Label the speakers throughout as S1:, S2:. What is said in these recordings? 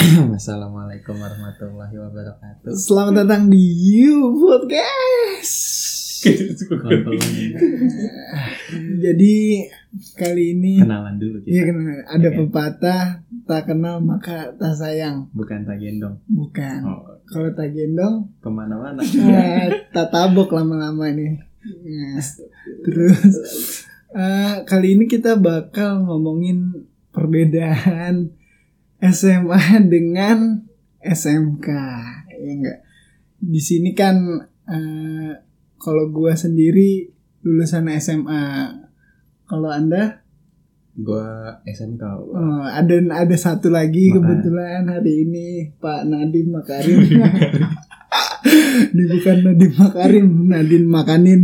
S1: Assalamualaikum warahmatullahi wabarakatuh.
S2: Selamat datang di You Podcast. Jadi kali ini
S1: Kenalan dulu kita.
S2: ya kenal ada
S1: Oke.
S2: pepatah tak kenal maka tak sayang.
S1: Bukan tak gendong.
S2: Bukan.
S1: Oh,
S2: Kalau tak gendong
S1: kemana-mana.
S2: eh, tak tabok lama-lama nih. Nah, terus eh, kali ini kita bakal ngomongin perbedaan SMA dengan SMK ya enggak di sini kan eh, kalau gua sendiri lulusan SMA kalau anda
S1: Gua SMK.
S2: eh, ada ada satu lagi
S1: Makarim.
S2: kebetulan hari ini Pak Nadim Makarim ini bukan Nadim Makarim Nadim Makanin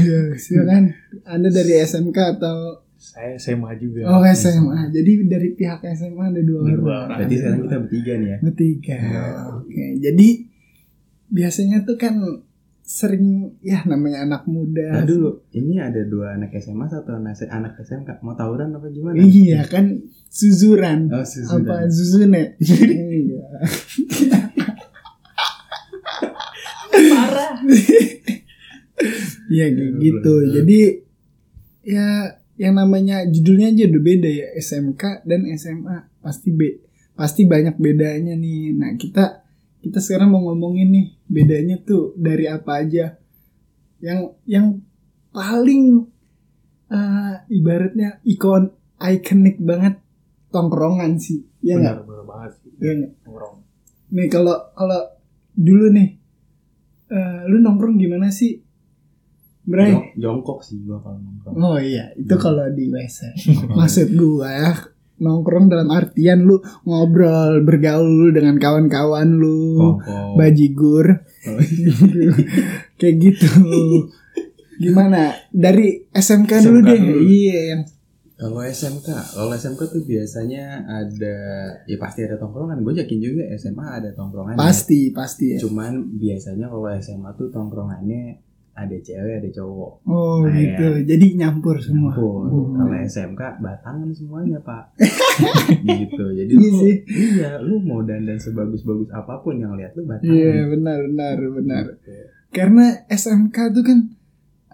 S2: ya silakan anda dari SMK atau
S3: Saya SMA juga.
S2: oh SMA jadi dari pihak SMA ada dua
S3: Dua
S2: orang Iya.
S1: Berarti sekarang
S3: orang.
S1: kita bertiga nih ya.
S2: Bertiga.
S1: Ya.
S2: Oke, jadi biasanya tuh kan sering ya namanya anak
S1: Nah
S2: muda.
S1: dulu, ini ada dua anak SMA, satu anak anak SMK. Mau tawuran apa gimana?
S2: Iya kan suzuran.
S1: Oh,
S2: Apa
S1: susunan.
S2: zuzune? Iya.
S3: Parah.
S2: Iya kayak gitu. Jadi ya yang namanya judulnya aja udah beda ya SMK dan SMA pasti B pasti banyak bedanya nih. Nah kita kita sekarang mau ngomongin nih bedanya tuh dari apa aja yang yang paling eh, ibaratnya ikon ikonik banget tongkrongan sih ya nggak
S3: Benar benar banget sih.
S2: Iya nggak?
S3: Nongkrong.
S2: nih kalau kalau dulu nih eh, lu nongkrong gimana sih Bray
S1: Jong- Jongkok sih gua kalau nongkrong.
S2: Oh iya, itu kalau di WC. Maksud gua nongkrong dalam artian lu ngobrol, bergaul dengan kawan-kawan lu,
S1: Kongkong.
S2: bajigur.
S1: Oh.
S2: Kayak gitu. Gimana? Dari SMK, dulu
S3: SMK
S2: deh.
S3: dulu.
S2: Iya, yang
S1: Kalau SMK, kalau SMK tuh biasanya ada, ya pasti ada tongkrongan. Gue yakin juga SMA ada tongkrongan.
S2: pasti, pasti ya.
S1: Cuman biasanya kalau SMA tuh tongkrongannya ada cewek ada cowok.
S2: Oh,
S1: Nah,
S2: gitu. Jadi nyampur semua.
S1: Pun.
S2: Hmm.
S1: Kalau SMK batangan semuanya pak. gitu. Jadi
S2: Iya
S1: lu-
S2: sih.
S1: iya, lu mau dandan sebagus-bagus apapun yang lihat lu batangan.
S2: Iya, benar, benar, benar.
S1: Gitu.
S2: Karena SMK tuh kan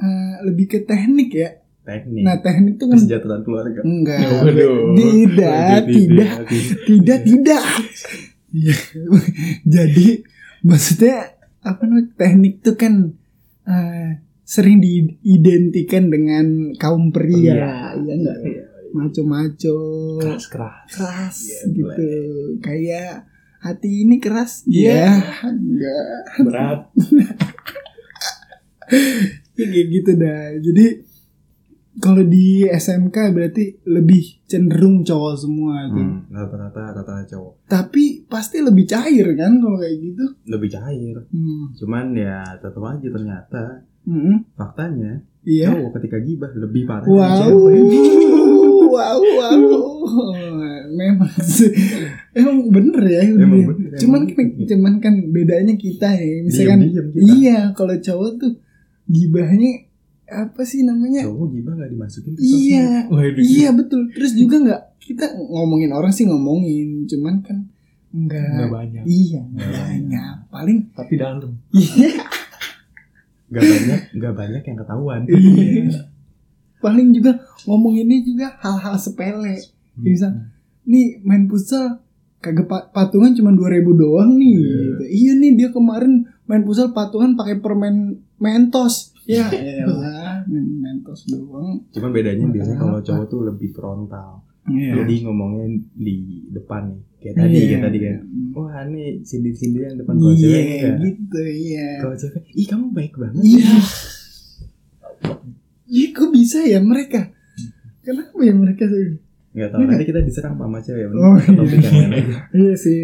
S2: eh, lebih ke teknik ya.
S1: Teknik.
S2: Nah, teknik tuh kan
S1: kesejahteraan keluarga.
S2: Enggak.
S3: Waduh.
S2: Tidak, tidak, tidak, tidak. Ya, Iya. Jadi maksudnya apa namanya teknik tuh kan eh, sering diidentikan dengan kaum pria, ya enggak
S1: Iya.
S2: maco-maco,
S3: Keras keras.
S2: keras
S1: Iya,
S2: gitu, kayak hati ini keras,
S1: Iya.
S2: ya enggak,
S3: Berat.
S2: Ya, kayak gitu dah. Jadi kalau di SMK berarti lebih cenderung cowok semua tuh.
S1: Hmm, rata-rata rata-rata cowok
S2: tapi pasti lebih cair kan kalau kayak gitu.
S1: lebih cair.
S2: Hmm.
S1: Cuman ya tetap aja ternyata
S2: Mm-mm.
S1: faktanya
S2: Iya.
S1: cowok ketika gibah lebih parah dari
S2: Wow.
S1: cewek.
S2: wow, wow. Memang sih. Emang bener ya.
S1: Emang
S2: bener.
S1: bener, kan?
S2: Cuman
S1: emang
S2: kan,
S1: bener.
S2: cuman kan bedanya kita ya. Misalkan
S1: Diem-diem kita.
S2: iya, kalau cowok tuh gibahnya apa sih namanya?
S1: cowok gibah gak dimasukin ke sosmed.
S2: Iya.
S3: Waduh.
S2: Iya, betul. Terus juga nggak kita ngomongin orang sih ngomongin, cuman kan
S3: Nggak
S2: enggak
S3: banyak.
S2: Iya, nggak banyak. Paling
S3: Tapi dalam.
S2: iya.
S1: Gak banyak, gak banyak yang ketahuan.
S2: Iya. Paling juga ngomonginnya juga hal-hal sepele. Bisa.
S3: Hmm.
S2: Nih main futsal kagak pa- patungan cuma 2000 doang nih.
S1: Iya.
S2: gitu. Iya nih dia kemarin main futsal patungan pakai permen Mentos. Ya elah, men- Mentos doang.
S1: Cuman bedanya biasanya kalau
S2: Apa?
S1: cowok tuh lebih frontal.
S2: Iya.
S1: Jadi ngomongnya di depan nih. Kayak tadi, kayak tadi kan. Wah nih sindir-sindir yang depan kalau
S2: Iya,
S1: cewek enggak.
S2: gitu iya.
S1: Kalau cewek, ih kamu baik banget.
S2: Iya. Iya, kok bisa ya mereka? Kenapa ya mereka tuh?
S1: Gak tau,
S2: Iya.
S1: nanti kita diserang sama cewek.
S2: Oh,
S1: Ke topik yang lain aja.
S2: Iya sih.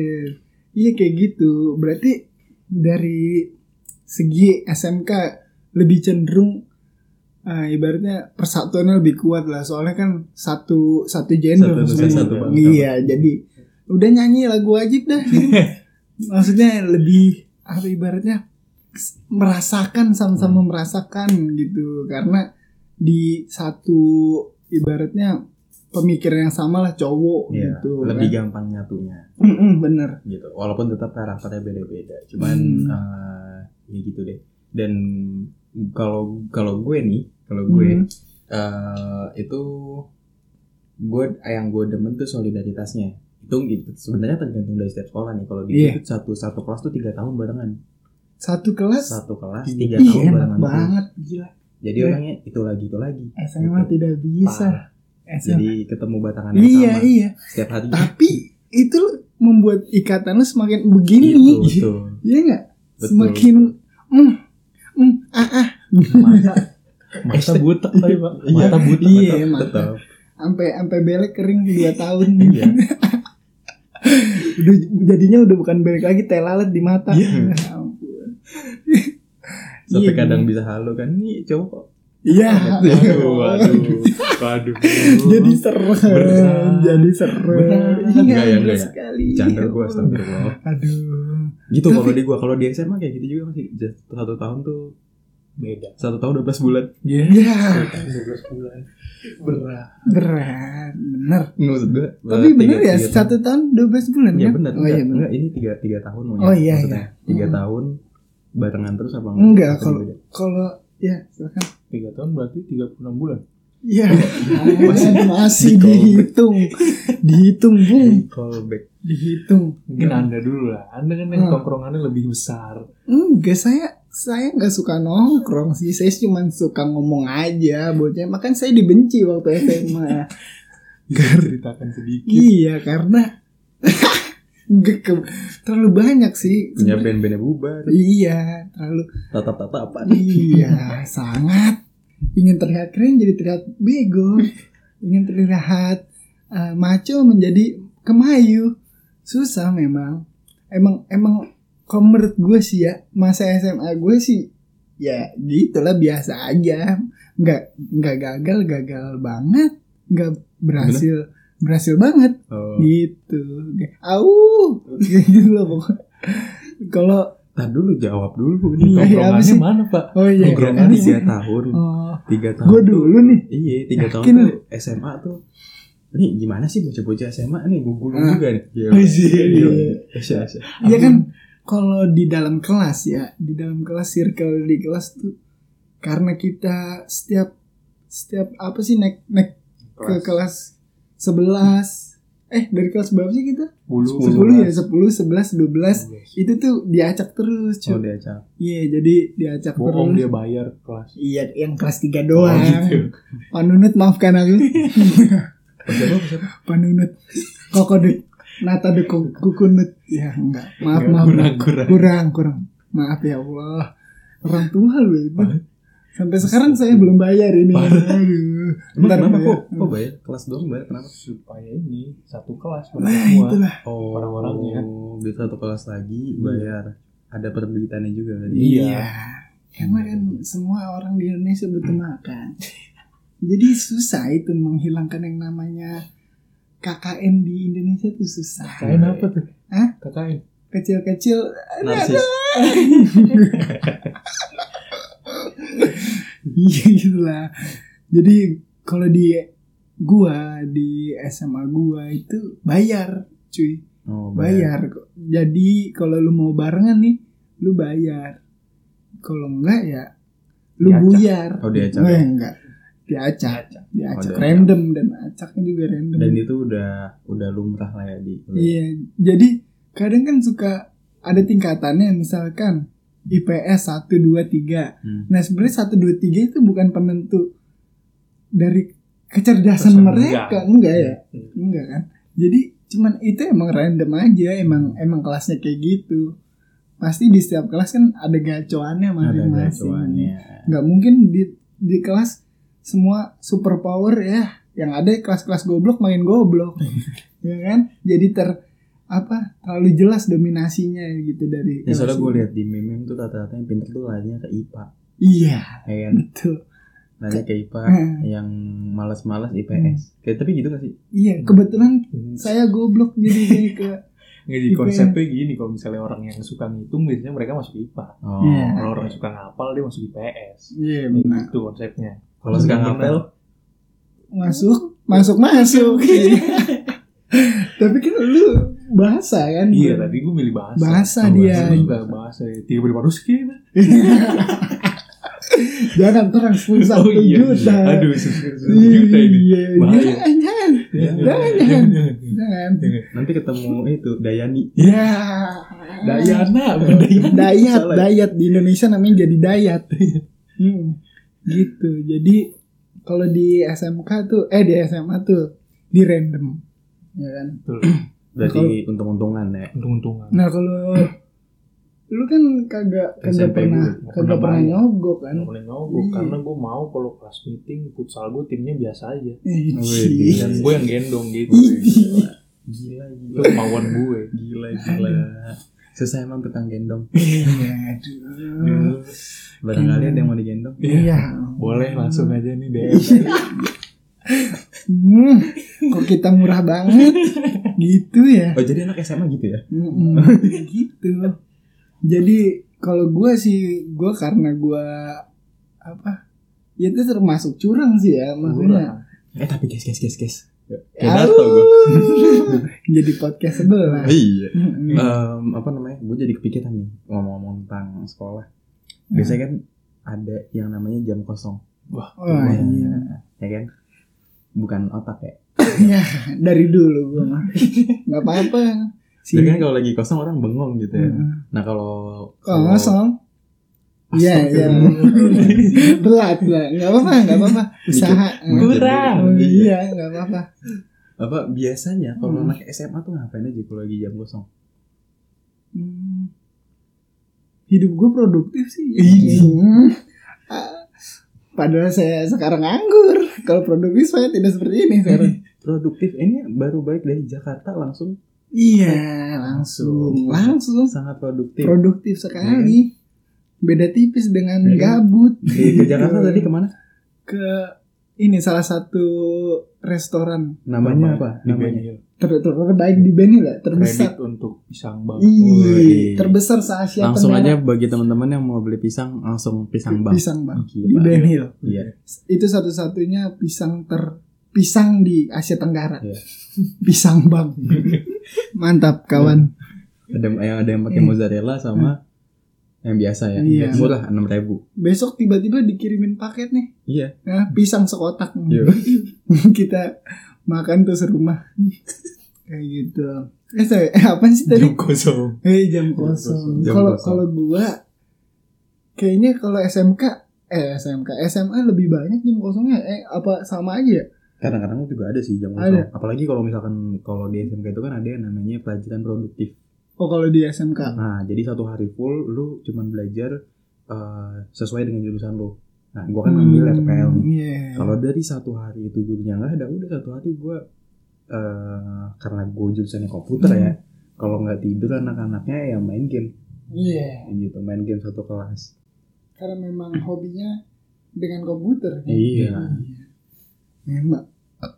S2: Iya kayak gitu. Berarti dari segi SMK lebih cenderung eh, ibaratnya persatuannya lebih kuat lah. Soalnya kan satu satu gender
S1: Satu
S2: semua.
S1: nusa, satu bangsa.
S2: Iya, jadi udah nyanyi lagu wajib dah. Maksudnya lebih apa ibaratnya s- merasakan sama-sama
S1: Hmm.
S2: merasakan gitu karena di satu ibaratnya pemikiran yang sama lah cowok
S1: Iya,
S2: gitu
S1: lebih
S2: kan.
S1: gampang nyatunya
S2: Mm-mm, bener
S1: gitu walaupun tetap karakternya beda-beda cuman
S2: Hmm.
S1: eh, ya gitu deh dan kalau kalau gue nih kalau gue
S2: Mm.
S1: eh, itu gue yang gue demen tuh solidaritasnya itu gitu sebenarnya tergantung dari setiap sekolah nih kalau di
S2: Iya.
S1: gue tuh satu satu kelas tuh tiga tahun barengan
S2: satu kelas
S1: satu kelas tiga
S2: Ih,
S1: tahun
S2: Iya, enak
S1: barengan terus.
S2: banget gila
S1: jadi
S2: Iya.
S1: orangnya itu lagi itu lagi
S2: SMA tidak bisa
S3: Parah.
S2: SMA
S1: Gitu. jadi ketemu batangan yang
S2: iya
S1: sama
S2: iya
S1: setiap hari
S2: tapi itu membuat ikatan lu semakin begini
S1: gitu betul
S2: Iya nggak?
S1: Betul.
S2: Semakin mm, mm, ah, ah.
S3: Mata Mata butek tapi pak Mata butek
S2: Iya,
S1: Tetap-
S2: mata.
S1: tetap.
S2: Sampai sampai belek kering 2 tahun.
S1: Iya.
S2: udah, jadinya udah bukan belek lagi telalat di mata.
S1: Iya.
S2: Ya ampun.
S1: sampai
S2: Iya,
S1: kadang bisa halo kan nih cowok kok
S2: Iya.
S3: Aduh Aduh Aduh
S2: Jadi seru.
S3: Berat.
S2: Jadi seru.
S3: Berat.
S2: Iya,
S1: Enggak, ya, enggak,
S2: bener
S1: ya.
S2: sekali.
S1: bercanda gue astagfirullah
S2: Aduh.
S1: gitu
S2: Iya, Tapi-
S1: kalau di gue kalau di SMA kayak gitu juga masih just satu tahun tuh
S3: Beda
S1: satu tahun 12 bulan
S3: Iya
S2: Ya,
S3: 12 bulan Berat
S2: berat. Bener.
S1: Nggak, maksud gue
S2: Tapi bener ya, satu tahun 12 bulan
S1: ya
S2: kan?
S1: bener
S2: Oh iya
S1: Nggak,
S2: bener.
S1: nggak, ini tiga tiga tahun
S2: Oh, iya,
S1: Maksudnya, tiga
S2: Mm.
S1: tahun barengan terus apa
S2: Enggak,
S1: Atau
S2: kalau-
S1: beda?
S2: Kalau ya silakan.
S3: 3 tahun berarti 36 bulan
S2: Iya.
S1: Masih-
S2: masih masih
S1: di Hmm. callback.
S2: dihitung. Dihitung, Bung.
S1: callback
S2: Dihitung.
S3: Mungkin anda dulu lah Anda kan
S2: Hmm.
S3: yang tongkrongannya lebih besar
S2: Enggak, saya saya nggak suka nongkrong sih. Saya cuma suka ngomong aja bocah. Makanya saya dibenci waktu SMA.
S3: Bisa ceritakan sedikit
S2: iya, karena Nggak ke- terlalu banyak sih.
S1: punya band-bandnya bubar
S2: Iya, terlalu
S1: tatap tatapan
S2: iya, sangat ingin terlihat keren jadi terlihat bego, ingin terlihat eh, maco menjadi kemayu. Susah memang. Emang emang kalau menurut gue sih ya masa SMA gue sih ya gitulah biasa aja. Nggak nggak gagal gagal banget, nggak berhasil berhasil banget
S1: oh.
S2: gitu. Au, gitu loh pokoknya. Kalau
S1: Nah dulu jawab dulu nih
S2: Iya, apa
S3: Tongkrongannya
S2: sih?
S3: mana pak?
S2: oh iya,
S1: Nongkrongan
S2: ini-
S1: tiga tahun
S2: Oh,
S1: tiga tahun
S2: gue
S1: tuh-
S2: dulu nih.
S1: Iya, tiga tahun
S2: Yakin
S1: tuh SMA tuh. Nih gimana sih bocah-bocah SMA nih gue gulung
S2: Ah.
S1: juga nih. Iya.
S2: Iya.
S1: Asya, asya.
S2: Iya kan kalau di dalam kelas ya, di dalam kelas circle di kelas tuh karena kita setiap setiap apa sih naik naik ke kelas 11 eh dari kelas berapa sih kita? 10
S3: 10
S2: ya, 10, 11, 12.
S3: 11
S2: Itu tuh diacak terus,
S1: Oh,
S2: cuy.
S1: dia cakep.
S2: Iya, jadi diacak
S3: Bohong
S2: terus.
S3: dia bayar kelas
S2: Iya, yang kelas 3 doang.
S3: Oh, gitu.
S2: Panunut maafkan aku.
S1: Oh, siapa, oh, siapa?
S2: Panunut. Kokodut. Nata de kukunut. Ya, enggak. Maaf, maaf.
S3: Kurang kurang
S2: kurang kurang maaf ya Allah orang tua lu itu sampai sekarang saya belum bayar ini aduh
S1: Emang
S2: Ntar
S1: kenapa
S2: bayar.
S1: kok? Kok bayar? Kelas doang bayar kenapa?
S3: supaya ini satu kelas
S2: nah
S3: bersemua.
S2: itulah
S1: Oh,
S3: Orang-orangnya.
S1: Oh, biar satu kelas lagi bayar. Ada perbedaannya juga kan?
S3: Iya.
S2: karena kan semua orang di Indonesia butuh makan jadi susah itu menghilangkan yang namanya KKN di Indonesia tuh susah
S3: KKN apa tuh?
S2: Hah?
S3: KKN.
S2: kecil-kecil
S1: Narsis.
S2: Iya gitu lah. Jadi kalau di gua di SMA gua itu bayar, cuy.
S1: Oh, bayar.
S2: Bayar. kok. Jadi kalau lu mau barengan nih, lu bayar. Kalau enggak ya lu
S3: Diacak.
S2: buyar.
S1: Oh, diacak.
S2: Eh, enggak. Diacak. Diacak
S1: diacak.
S2: random dan acaknya juga random.
S1: Dan itu udah udah lumrah lah ya di.
S2: Iya, jadi kadang kan suka ada tingkatannya misalkan IPS 1 2 3.
S1: Hmm.
S2: Nah, sebenarnya 1 2 3 itu bukan penentu dari kecerdasan
S3: Kecerdasan
S2: mereka,
S3: enggak.
S2: enggak ya?
S3: Hmm.
S2: Enggak kan? Jadi cuman itu emang random aja, emang emang kelasnya kayak gitu. Pasti di setiap kelas kan ada gacoannya
S1: Ada
S2: masing-masing.
S1: gacuannya. Ya,
S2: Enggak mungkin di di kelas semua superpower ya yang ada kelas-kelas goblok main goblok ya kan jadi ter apa terlalu jelas dominasinya gitu dari
S1: Ya, soalnya
S2: kelas
S1: gue
S2: itu.
S1: lihat di meme tuh rata-rata yang pinter tuh larinya ke IPA.
S2: iya
S1: Ya kan?
S2: betul
S1: Nanya ke IPA
S2: Hmm.
S1: yang malas-malas IPS. Kayak tapi gitu gak sih?
S2: iya kebetulan
S3: Hmm.
S2: saya goblok jadi jadi ke
S3: Jadi
S2: IPS.
S3: konsepnya gini kalau misalnya orang yang suka ngitung biasanya mereka masuk IPA.
S1: Oh.
S2: Iya.
S3: Kalau orang yang suka ngapal dia masuk IPS.
S2: iya
S3: Kayak
S2: benar
S3: Gitu konsepnya.
S1: Kalau suka
S3: Benar.
S1: ngapel,
S2: masuk masuk masuk tapi kan lu bahasa kan
S3: Iya tadi gue milih bahasa.
S2: Bahasa
S3: Gua
S2: dia.
S3: suka bahasa. ya. Tiga puluh lima ruski.
S2: jangan terang sepuluh satu juta
S3: Oh, iya. Aduh susah susah juta ini.
S2: Iya,
S3: Bahaya. Iya,
S2: jangan jangan jangan jangan
S1: Nanti ketemu itu Dayani.
S2: ya
S3: Dayana
S2: Iya.
S3: bukan Dayana.
S2: dayat
S3: ya.
S1: Salah.
S2: dayat di Indonesia namanya jadi dayat hmm. gitu jadi kalau di SMK tuh eh di SMA tuh di random ya kan
S3: Betul.
S1: Berarti untung-untungan ya.
S3: Untung-untungan.
S2: nah kalau lu kan kagak kagak
S1: SMP
S2: pernah
S1: gue,
S2: kagak
S3: pernah
S2: pernah
S3: main.
S2: nyogok kan
S3: Nggak boleh ngogok
S2: Iya.
S3: karena gue mau kalau kelas meeting futsal gue timnya biasa aja.
S2: Ih,
S1: Wih,
S3: Dan gue yang gendong gitu.
S2: Ih.
S1: Gila,
S3: Itu
S1: gila.
S3: kemauan gue.
S1: Gila, gila. Susah emang tukang gendong.
S2: Iya, aduh.
S1: Barangkali ada yang mau digendong.
S3: Iya.
S2: Iya.
S3: Boleh langsung aja nih DM.
S2: Hmm, kok kita murah banget gitu ya.
S1: Oh jadi anak SMA gitu ya?
S2: Mm-mm, gitu. Jadi kalau gue sih gue karena gue apa? Ya itu termasuk curang sih ya maksudnya.
S1: Eh tapi guys guys guys Ya, guys.
S2: Ya,
S1: Kayak
S2: Aduh, Oh,
S1: nato gue.
S2: jadi podcast sebelah. Hmm.
S1: Iya.
S2: Mm-mm.
S1: Em, apa namanya? Gue jadi kepikiran nih ngomong-ngomong tentang sekolah. Biasanya kan ada yang namanya jam kosong.
S2: Wah, iya.
S1: Ya kan? Bukan otak ya.
S2: Ya, dari dulu gue mah. Gak apa-apa.
S1: Jadi
S2: Sini.
S1: kan kalau lagi kosong orang bengong gitu ya.
S2: Mm-mm.
S1: Nah kalau
S2: Kalau kosong Iya, iya. Berat lah. Gak apa-apa, gak apa-apa. Usaha.
S1: Mikir dulu.
S3: Kurang.
S2: Oh, iya, gak apa-apa.
S1: Apa biasanya kalau
S2: Hmm.
S1: anak SMA tuh ngapain aja kalau lagi jam kosong?
S2: Hmm. Hidup gue produktif sih.
S3: Iya.
S2: Hmm. Ah, Padahal saya sekarang anggur. Kalau produktif saya tidak seperti ini sekarang.
S1: Produktif ini baru balik dari Jakarta langsung
S2: Iya, langsung. Langsung.
S1: sangat produktif.
S2: Produktif sekali. Beda tipis dengan
S1: Iya.
S2: gabut.
S1: Dari ke Jakarta tadi kemana?
S2: Ke ini salah satu restoran
S1: Namanya apa? Namanya.
S3: Namanya.
S2: ter ter- terbaik di Beni lah, terbesar.
S3: Kredit untuk pisang bang.
S1: Wih.
S2: Iya, terbesar se Asia
S1: langsung aja
S2: Tenggara.
S1: bagi teman-teman yang mau beli pisang langsung pisang bang.
S2: pisang bang di
S1: Gila.
S2: Ben Hill.
S1: Iya.
S2: Itu satu-satunya pisang ter pisang di Asia Tenggara.
S1: Iya.
S2: pisang bang. Mantap kawan.
S1: Ada yang ada yang pakai
S2: Hmm.
S1: mozzarella sama yang biasa ya.
S2: Iya.
S1: Murah enam ribu.
S2: Besok tiba-tiba dikirimin paket nih.
S1: Iya.
S2: Nah, pisang sekotak.
S1: Iya.
S2: Kita makan tuh serumah. Kayak gitu. Eh, sorry. Eh, apa sih tadi?
S3: Jam kosong.
S2: Eh jam kosong.
S1: Jam
S2: Kalau
S1: kosong.
S2: kalau gua kayaknya kalau SMK eh SMK SMA lebih banyak jam kosongnya eh apa sama aja ya?
S1: Kadang-kadang juga ada sih jam kosong. Apalagi kalau misalkan kalau di SMK itu kan ada yang namanya pelajaran produktif.
S2: Oh kalau di SMK.
S1: Nah, jadi satu hari full lu cuman belajar eh, sesuai dengan jurusan lu. Nah, gua kan ngambil
S2: Hmm,
S1: RPL. nih.
S2: Iya.
S1: Kalau dari satu hari itu gurunya nggak ada, udah satu hari gue eh karena gue jurusannya komputer ya.
S2: Hmm.
S1: Kalau nggak tidur anak-anaknya ya main game
S2: Iya.
S1: gitu, main game satu kelas.
S2: Karena memang hobinya dengan komputer. kan?
S1: Iya.
S2: Memang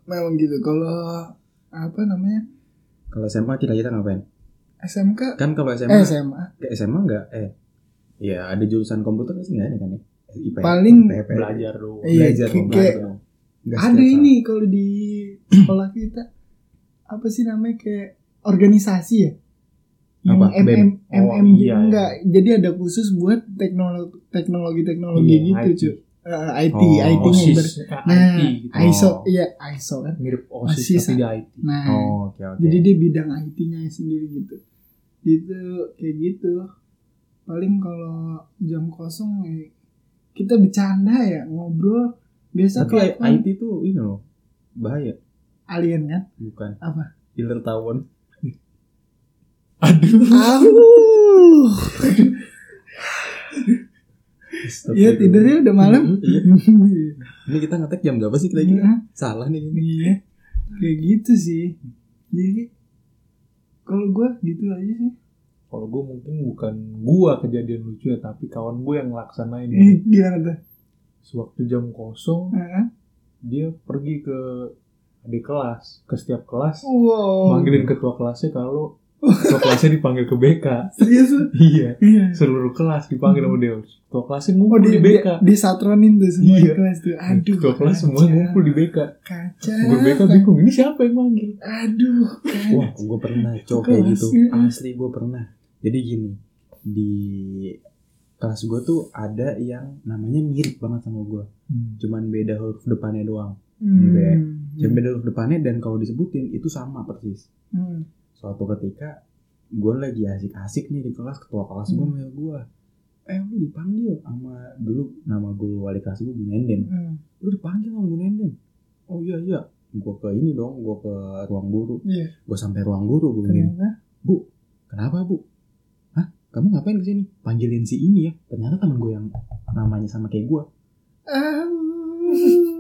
S2: memang gitu. Kalau apa namanya?
S1: Kalau SMA kira-kira ngapain?
S2: SMK
S1: Kan kalau
S2: eh,
S1: SMA
S2: SMA
S1: ke SMA nggak eh ya ada jurusan komputer nggak sih nggak ada kan ya? IPS,
S2: Paling
S1: IPS.
S3: Belajar dong.
S2: Iya,
S1: E. belajar
S2: kayak-
S1: dong, belajar dong. Nggak
S2: ada
S1: setiap
S2: ini kalau di sekolah kita apa sih namanya kayak organisasi ya yang
S1: Apa? BEM?
S2: MM,
S3: Oh,
S2: MM gitu
S3: iya,
S2: enggak jadi ada khusus buat teknologi teknologi teknologi
S3: Iya,
S2: gitu
S3: IT.
S2: cuy Eh, IT
S1: Oh,
S2: IT -nya
S1: OSIS.
S2: ber-
S3: Eh,
S2: nah
S3: IT gitu.
S2: ISO
S1: Oh.
S2: iya ISO kan
S3: Mirip
S2: OSIS,
S3: OSIS tapi di IT.
S2: nah
S1: tahun. Oh, oke oke.
S2: jadi dia bidang IT-nya sendiri gitu gitu kayak gitu paling kalau jam kosong ya, kita bercanda ya ngobrol biasa
S1: tapi
S2: kayak
S1: IT tuh ini loh bahaya
S2: alien kan
S1: bukan
S2: Apa?
S1: Killer tawon
S3: Aduh.
S2: Aduh. Iya tidurnya udah malam.
S1: Iya. Ini kita ngetek jam berapa sih kira-kira?
S2: Iya.
S1: Salah nih ini.
S2: Iya. Kayak gitu sih. Jadi kalau gue gitu aja sih.
S3: Kalau gue mungkin bukan gua kejadian lucu ya, tapi kawan gue yang laksanain.
S2: Ih, Eh, Gimana tuh?
S3: Sewaktu jam kosong,
S2: Heeh.
S3: dia pergi ke adik kelas, ke setiap kelas,
S2: Wow. Oh.
S3: manggilin ketua kelasnya kalau ketua kelasnya dipanggil ke BK
S2: Serius lu?
S3: iya
S2: Iya.
S3: seluruh kelas dipanggil sama dia ketua kelasnya
S2: Oh
S3: ngumpul
S2: di,
S3: di
S2: di,
S3: BK
S2: di satronin tuh semua di
S3: Iya.
S2: kelas tuh. Aduh. Ah.
S3: ketua kelas semua
S2: kacau.
S3: ngumpul di BK
S2: Kacau.
S3: gue BK bingung ini siapa yang manggil
S2: Aduh. Kacau.
S1: Wah, gue pernah cowok kayak
S2: Kelas,
S1: gitu.
S2: iya.
S1: Asli gue pernah. Jadi gini, di kelas gue tuh ada yang namanya mirip banget sama gue. Cuman beda huruf depannya doang.
S2: Hmm.
S1: gitu ya. Cuman
S2: Mm.
S1: beda huruf depannya dan kalau disebutin itu sama persis.
S2: Hmm.
S1: Suatu ketika gue lagi asik-asik nih di kelas ketua kelas gue
S2: Hmm.
S1: manggil gue. Eh lu dipanggil sama dulu nama gue wali kelas gue Bu Nenden.
S2: Hmm.
S1: Lu dipanggil sama Bu Nenden. Oh iya iya. Gue ke ini dong, gue ke ruang guru.
S2: Iya.
S1: Gue sampai ruang guru gue begini.
S2: Ternyata.
S1: Bu, kenapa bu? Hah? Kamu ngapain kesini? Panggilin si ini ya. Ternyata teman gue yang namanya sama kayak gue.
S2: Au.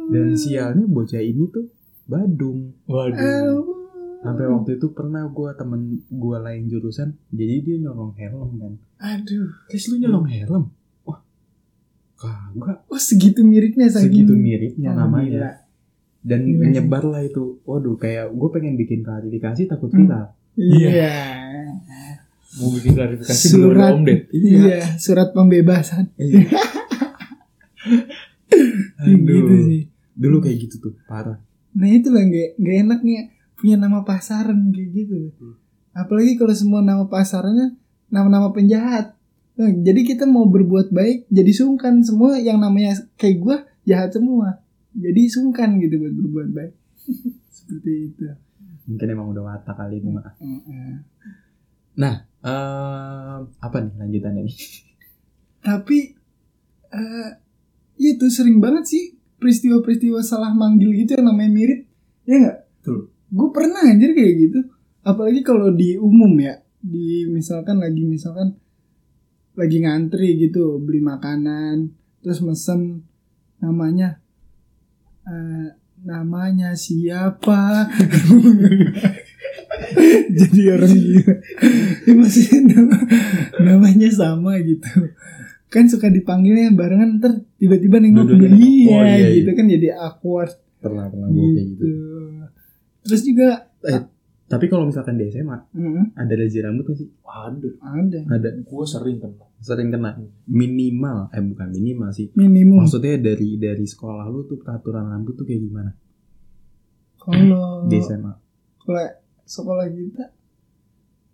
S1: Dan sialnya bocah ini tuh Badung.
S3: waduh
S2: Au.
S1: Sampai waktu itu pernah gue temen gue lain jurusan. Jadi dia nyolong helm kan.
S2: Aduh.
S1: Terus lu nyolong helm? Wah, kagak.
S2: Oh segitu miripnya saking.
S1: Segitu miripnya
S2: Oh, gila.
S1: namanya. Dan
S2: Gila.
S1: menyebar lah itu. Waduh, kayak gue pengen bikin klarifikasi takut viral.
S2: Iya.
S3: mau bikin klarifikasi belum ada
S2: Surat.
S3: om Ded
S2: Iya. Surat pembebasan.
S1: Iya.
S2: Gitu
S1: Aduh.
S2: sih.
S1: Dulu kayak gitu tuh, parah.
S2: Nah itu lah gak, gak enaknya punya nama pasaran kayak gitu.
S1: Hmm.
S2: Apalagi kalau semua nama pasarannya nama-nama penjahat. Nah, jadi kita mau berbuat baik jadi sungkan semua yang namanya kayak gua jahat semua. Jadi sungkan gitu buat berbuat baik. Seperti itu.
S1: Mungkin emang udah watak kali itu, Mak.
S2: Heeh.
S1: Ehm, apa nih lanjutannya nih?
S2: Tapi eh itu sering banget sih peristiwa-peristiwa salah manggil gitu yang namanya mirip. Ya enggak?
S3: Betul.
S2: Gue pernah anjir kayak gitu. Apalagi kalau di umum ya, di misalkan lagi misalkan lagi ngantri gitu beli makanan, terus mesen namanya eh namanya siapa? Jadi orang gila. Ya, maksudnya nama- namanya sama gitu kan suka dipanggilnya barengan ntar tiba-tiba nengok
S1: Dua-duanya
S2: dia
S1: nengok. Oh, iya, iya.
S2: gitu kan jadi awkward
S1: Pernah pernah gue kayak gitu.
S2: gitu terus juga
S1: Tapi kalau misalkan di SMA
S2: mm,
S1: ada razia rambut nggak sih?
S3: waduh
S2: ada
S1: Ada
S3: gue sering kena
S1: sering kena minimal eh bukan minimal sih.
S2: minimum
S1: Maksudnya dari dari sekolah lu tuh peraturan rambut tuh kayak gimana
S2: kalau
S1: di SMA?
S2: kalau sekolah kita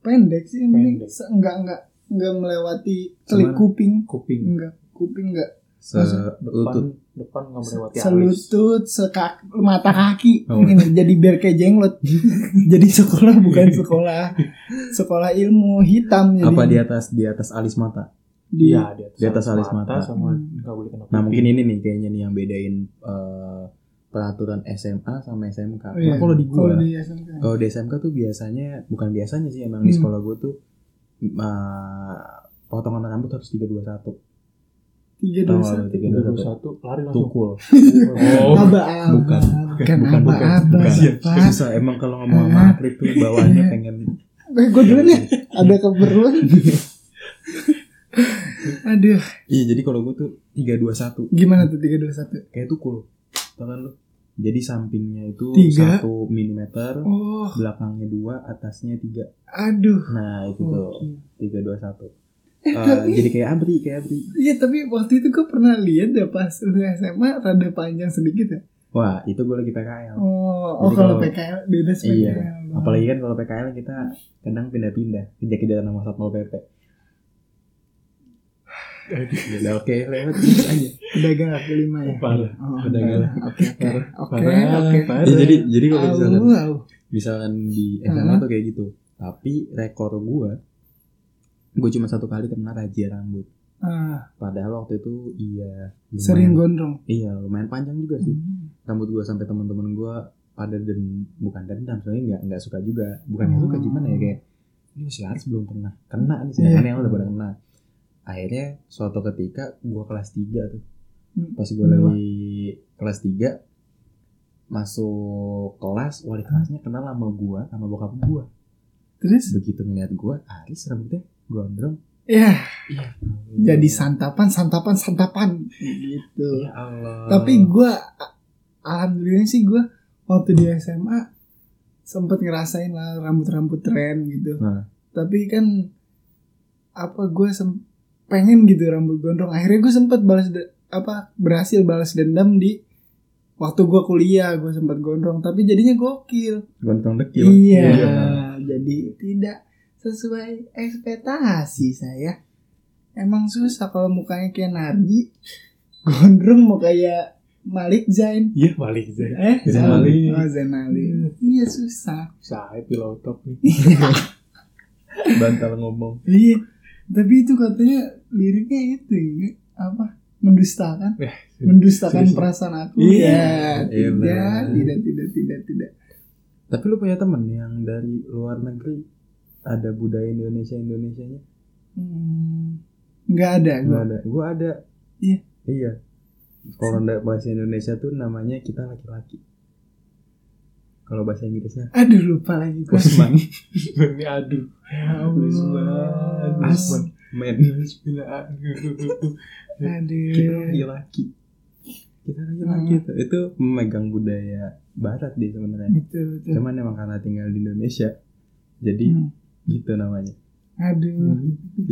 S2: pendek sih yang penting
S3: Pendek.
S2: se- enggak enggak enggak melewati telik
S1: Semana?
S2: kuping
S3: kuping
S2: enggak kuping enggak
S1: Se
S2: Maksud-
S1: lutut.
S3: depan depan nggak melewati alis
S2: selutut sekak mata kaki
S1: Oh.
S2: jadi biar kayak jenglot jadi sekolah bukan sekolah sekolah ilmu hitam jadi
S1: Apa di atas di atas alis mata?
S2: di-
S3: Iya, di atas,
S1: Di atas alis mata.
S3: sama
S2: Hmm.
S3: nggak boleh kena
S1: Nah
S3: kuping.
S1: mungkin ini nih kayaknya nih yang bedain eh, peraturan SMA sama SMK.
S2: Oh, iya.
S1: Nah, kalau di
S2: kalau
S1: gua
S2: di SMK.
S1: Kalau di SMK tuh biasanya bukan biasanya sih emang di
S2: Hmm.
S1: sekolah gue tuh eh, potongan rambut harus 321
S2: tiga
S1: Tahu
S2: dosa
S1: nggak
S3: tiga dua
S1: 321
S3: satu lari langsung
S1: tukul
S3: oh
S2: aba aba
S1: bukan.
S2: bukan
S1: Bukan,
S2: aba
S1: bukan,
S2: aba
S1: bukan.
S2: Pak.
S1: susah Iya, emang kalau
S2: Ah.
S1: ngomong sama atlet tuh bawaannya pengen
S2: eh gue duluan ya ada keperluan aduh
S1: iya jadi kalau gue tuh 321
S2: gimana tuh tiga dua satu
S1: kayak tukul tau kan lu jadi sampingnya itu
S2: Tiga.
S1: satu milimeter
S2: oh
S1: belakangnya dua atasnya tiga
S2: aduh
S1: nah itu tuh
S2: Oke.
S1: 321
S2: Oh. eh,
S1: Eh,
S2: tapi
S1: jadi kayak abri kayak abri
S2: iya tapi waktu itu gue pernah lihat ya pas lu SMA rada panjang sedikit ya
S1: wah itu gue lagi PKL
S2: oh
S1: Jadi
S2: oh kalau
S1: kalau-
S2: PKL beda sama
S1: Iya.
S2: PKL.
S1: Apalagi kan kalau PKL kita kadang pindah-pindah kejar-kejaran sama satpol pp. Udah oke lewat terus aja.
S2: pedagang kaki lima ya
S3: parah
S2: Oh,
S1: Pedagang.
S2: oke oke oke
S3: Parah,
S2: oke Iya,
S3: parah.
S1: Ya, jadi jadi kalau
S2: Au,
S1: misalkan
S2: au.
S1: misalkan di SMA tuh kayak gitu. Tapi rekor gua gua cuma satu kali kena razia rambut.
S2: Ah,
S1: Padahal waktu itu iya lumayan-
S2: sering gondrong
S1: iya lumayan panjang juga sih. Rambut gua sampai teman-teman gua pada den bukan dendam soalnya nggak nggak suka juga bukan nggak suka
S2: Hmm.
S1: gimana ya kayak ini si Haris belum pernah kena nih sih
S2: Iya.
S1: yang udah pada kena akhirnya suatu ketika gua kelas 3 tuh
S2: Hmm.
S1: pas gua
S2: Kenapa?
S1: lagi kelas 3 masuk kelas wali kelasnya kenal sama gua sama bokap gua
S2: terus
S1: begitu ngeliat gua Haris rambutnya gondrong
S2: ya
S1: iya
S2: jadi santapan santapan santapan gitu
S1: ya Allah
S2: tapi gua a- alhamdulillah sih gua waktu di SMA sempet ngerasain lah rambut-rambut tren gitu
S1: Nah.
S2: tapi kan apa gue sem- pengen gitu rambut gondrong akhirnya gue sempat balas de- apa berhasil balas dendam di waktu gue kuliah gue sempat gondrong tapi jadinya gokil
S1: Gondrong dekil.
S2: iya jadi tidak sesuai ekspektasi saya emang susah kalau mukanya kayak Nardi gondrong mau kayak Malik Zain
S3: Iya balik aja.
S2: eh
S1: Zain
S2: salah.
S3: Ali.
S2: oh, Zain Ali
S3: Hmm.
S2: iya susah
S3: Saya pilau top nih. Bantal ngomong.
S2: Iya, tapi itu katanya liriknya itu ya, apa? Mendustakan, mendustakan
S3: serius.
S2: perasaan aku.
S3: Iya.
S2: Ya,
S1: Iya,
S2: tidak,
S1: benar.
S2: tidak, tidak, tidak, tidak.
S1: Tapi lu punya temen yang dari luar negeri ada budaya Indonesia Indonesianya?
S2: Hmm, nggak ada.
S1: Gua
S2: gua.
S1: ada. Gua ada.
S2: Iya.
S1: Iya. Kalau ndak bahasa Indonesia tuh namanya kita laki-laki. Kalau bahasa Inggrisnya
S2: Aduh lupa lagi gue.
S1: Kusman.
S3: Ini aduh.
S2: Ya
S3: Kusman.
S2: Allah.
S1: Asman. Men.
S3: Bismillah.
S1: Kita
S2: Aduh.
S1: laki-laki. Kita
S2: Hmm.
S1: laki-laki itu. Itu memegang budaya barat dia sebenarnya.
S2: Betul, Gitu, betul.
S1: Cuman emang karena tinggal di Indonesia. Jadi
S2: Hmm.
S1: gitu namanya.
S2: Aduh.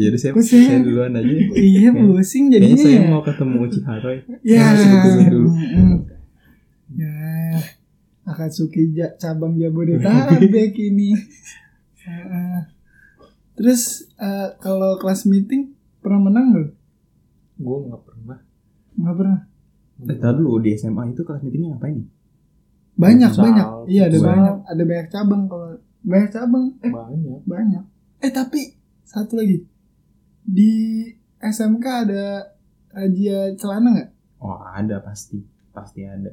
S1: Jadi saya,
S2: Kok
S1: saya
S2: saya-
S1: duluan aja.
S2: Iya pusing
S1: Hmm. Kayaknya
S2: jadinya.
S1: saya
S2: ya.
S1: mau ketemu Uci Haroy.
S2: Ya.
S1: Harus dihubungin dulu.
S2: Mm-mm. Ya. Akatsuki Ja- cabang Jabodetabek ini. Ah. Terus eh, kalau kelas meeting pernah menang nggak?
S3: Gue nggak pernah.
S2: Nggak pernah.
S1: Eh, tahu dulu di SMA itu kelas meetingnya ngapain nih?
S2: Banyak
S3: Futsal,
S2: banyak. Iya ada
S1: futsal.
S2: banyak. Ada banyak cabang kalau banyak cabang. Eh
S3: Banyak.
S2: banyak. Eh tapi satu lagi di SMK ada razia celana nggak?
S1: Oh ada pasti, pasti ada,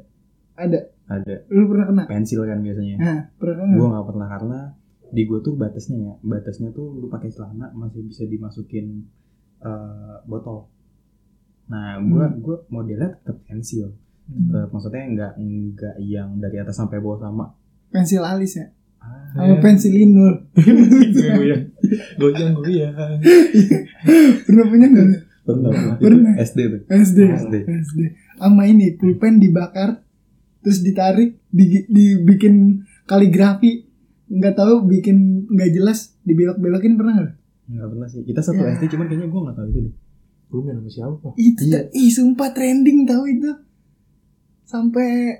S2: Ada.
S1: ada
S2: Lu pernah kena?
S1: pensil kan biasanya.
S2: Nah, pernah kena nggak?
S1: Gua nggak pernah karena di gua tuh batasnya ya, batasnya tuh lu pakai celana masih bisa dimasukin eh, botol. Nah gua gua modelnya tetap pensil,
S2: Hmm.
S1: Tetep, maksudnya nggak nggak yang dari atas sampai bawah sama.
S2: Pensil alis ya?
S1: Ah,
S2: Sama pensil linur.
S3: Goyang. Goyang goyang.
S2: Pernah punya nggak?
S1: pernah,
S2: Pernah.
S1: Itu SD tuh.
S2: SD.
S1: SD.
S2: SD. Sama ini pulpen dibakar terus ditarik di, dibikin kaligrafi nggak tahu bikin nggak jelas dibelok-belokin pernah nggak?
S1: Nggak pernah sih. Kita satu
S2: Ya.
S1: SD cuman kayaknya gua nggak tahu itu deh.
S3: Lu main sama siapa?
S2: Itu ih sumpah trending tahu itu. Sampai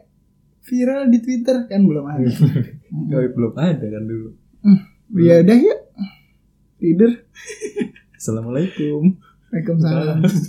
S2: viral di Twitter kan belum ada.
S1: Nggak, belum ada kan dulu.
S2: ya udah ya. Reader,
S1: Assalamualaikum.
S2: Waalaikumsalam.